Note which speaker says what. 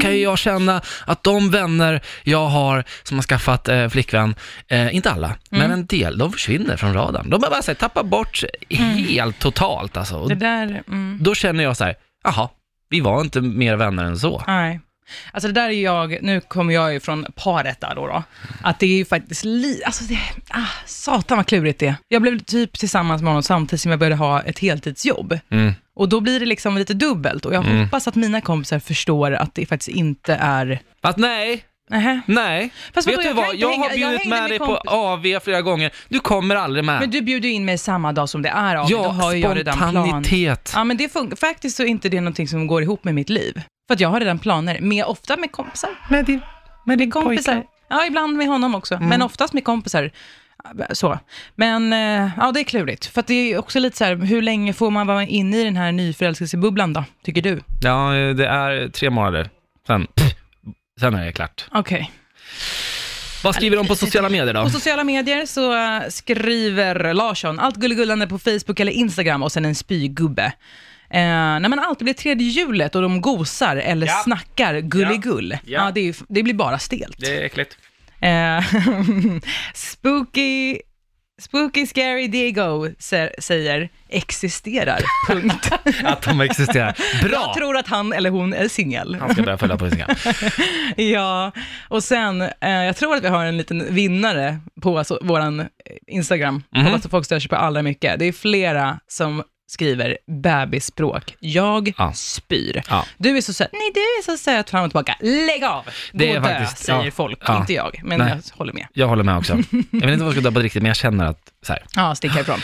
Speaker 1: kan ju jag känna att de vänner jag har som har skaffat eh, flickvän, eh, inte
Speaker 2: Mm.
Speaker 1: alla, men en del, de försvinner från radarn. De bara, bara så här, tappar bort helt totalt alltså. Och
Speaker 2: Mm. Det där, mm,
Speaker 1: Då känner jag så här, jaha, vi var inte mer vänner än så.
Speaker 2: nej. Alltså det där är jag, nu kommer jag ju från paret där då, då att det är ju faktiskt li, alltså det, ah, satan vad klurigt det är. Jag blev typ tillsammans med honom samtidigt som jag började ha ett heltidsjobb.
Speaker 1: Mm.
Speaker 2: Och då blir det liksom lite dubbelt och jag
Speaker 1: Mm.
Speaker 2: hoppas att mina kompisar förstår att det faktiskt inte är,
Speaker 1: Att nej,
Speaker 2: Nähä.
Speaker 1: nej.
Speaker 2: Fast
Speaker 1: Vet
Speaker 2: vadå,
Speaker 1: du
Speaker 2: jag kan
Speaker 1: vad,
Speaker 2: inte
Speaker 1: jag
Speaker 2: hänga-
Speaker 1: har
Speaker 2: jag
Speaker 1: bjudit
Speaker 2: hängde
Speaker 1: med
Speaker 2: med
Speaker 1: dig på
Speaker 2: kompis-
Speaker 1: AV flera gånger, du kommer aldrig med.
Speaker 2: Men du bjöd ju in mig samma dag som det är av då
Speaker 1: ja,
Speaker 2: har ju jag redan plan.
Speaker 1: spontanitet.
Speaker 2: Ja men det funkar, faktiskt så är inte det någonting som går ihop med mitt liv. För att jag har redan planer, med, ofta med kompisar.
Speaker 1: Med din, med din Mm.
Speaker 2: kompisar. Ja, ibland med honom också, men oftast med kompisar. Så. Men eh, ja, det är klurigt. För att det är också lite så här, hur länge får man vara inne i den här nyförälskelsebubblan då, tycker du?
Speaker 1: Ja, det är tre månader. Sen, pff, sen är det klart.
Speaker 2: Okej.
Speaker 1: Vad skriver de på sociala medier då?
Speaker 2: På sociala medier så eh, skriver Larsson, allt gullegullande på Facebook eller Instagram och sen en spygubbe. Eh, när man alltid blir tredje hjulet och de gosar eller
Speaker 1: Ja.
Speaker 2: snackar gulligull. Ja.
Speaker 1: Ja.
Speaker 2: det, är, ju- det blir bara stelt.
Speaker 1: Det är äckligt.
Speaker 2: Eh, spooky, spooky scary Diego sä- säger existerar, punkt.
Speaker 1: Att de existerar. Bra!
Speaker 2: Jag tror att han eller hon är singel.
Speaker 1: Han ska börja följa på Instagram.
Speaker 2: Ja, och sen, eh, jag tror att vi har en liten vinnare på alltså, vår Instagram,
Speaker 1: Mhm.
Speaker 2: på vad folk stör sig på allra mycket. Det är flera som skriver bebisspråk. Jag
Speaker 1: Ja.
Speaker 2: spyr.
Speaker 1: Ja.
Speaker 2: Du är så söt. Nej, du är så söt. Fram och tillbaka. Lägg av!
Speaker 1: Det
Speaker 2: Gå
Speaker 1: är
Speaker 2: dö,
Speaker 1: faktiskt-
Speaker 2: säger
Speaker 1: ja.
Speaker 2: folk.
Speaker 1: Ja.
Speaker 2: Inte jag, men
Speaker 1: Nej.
Speaker 2: jag håller med.
Speaker 1: Jag håller med också. Jag vet inte vad jag ska döpa det riktigt, men jag känner att så här.
Speaker 2: Ja, sticka ifrån.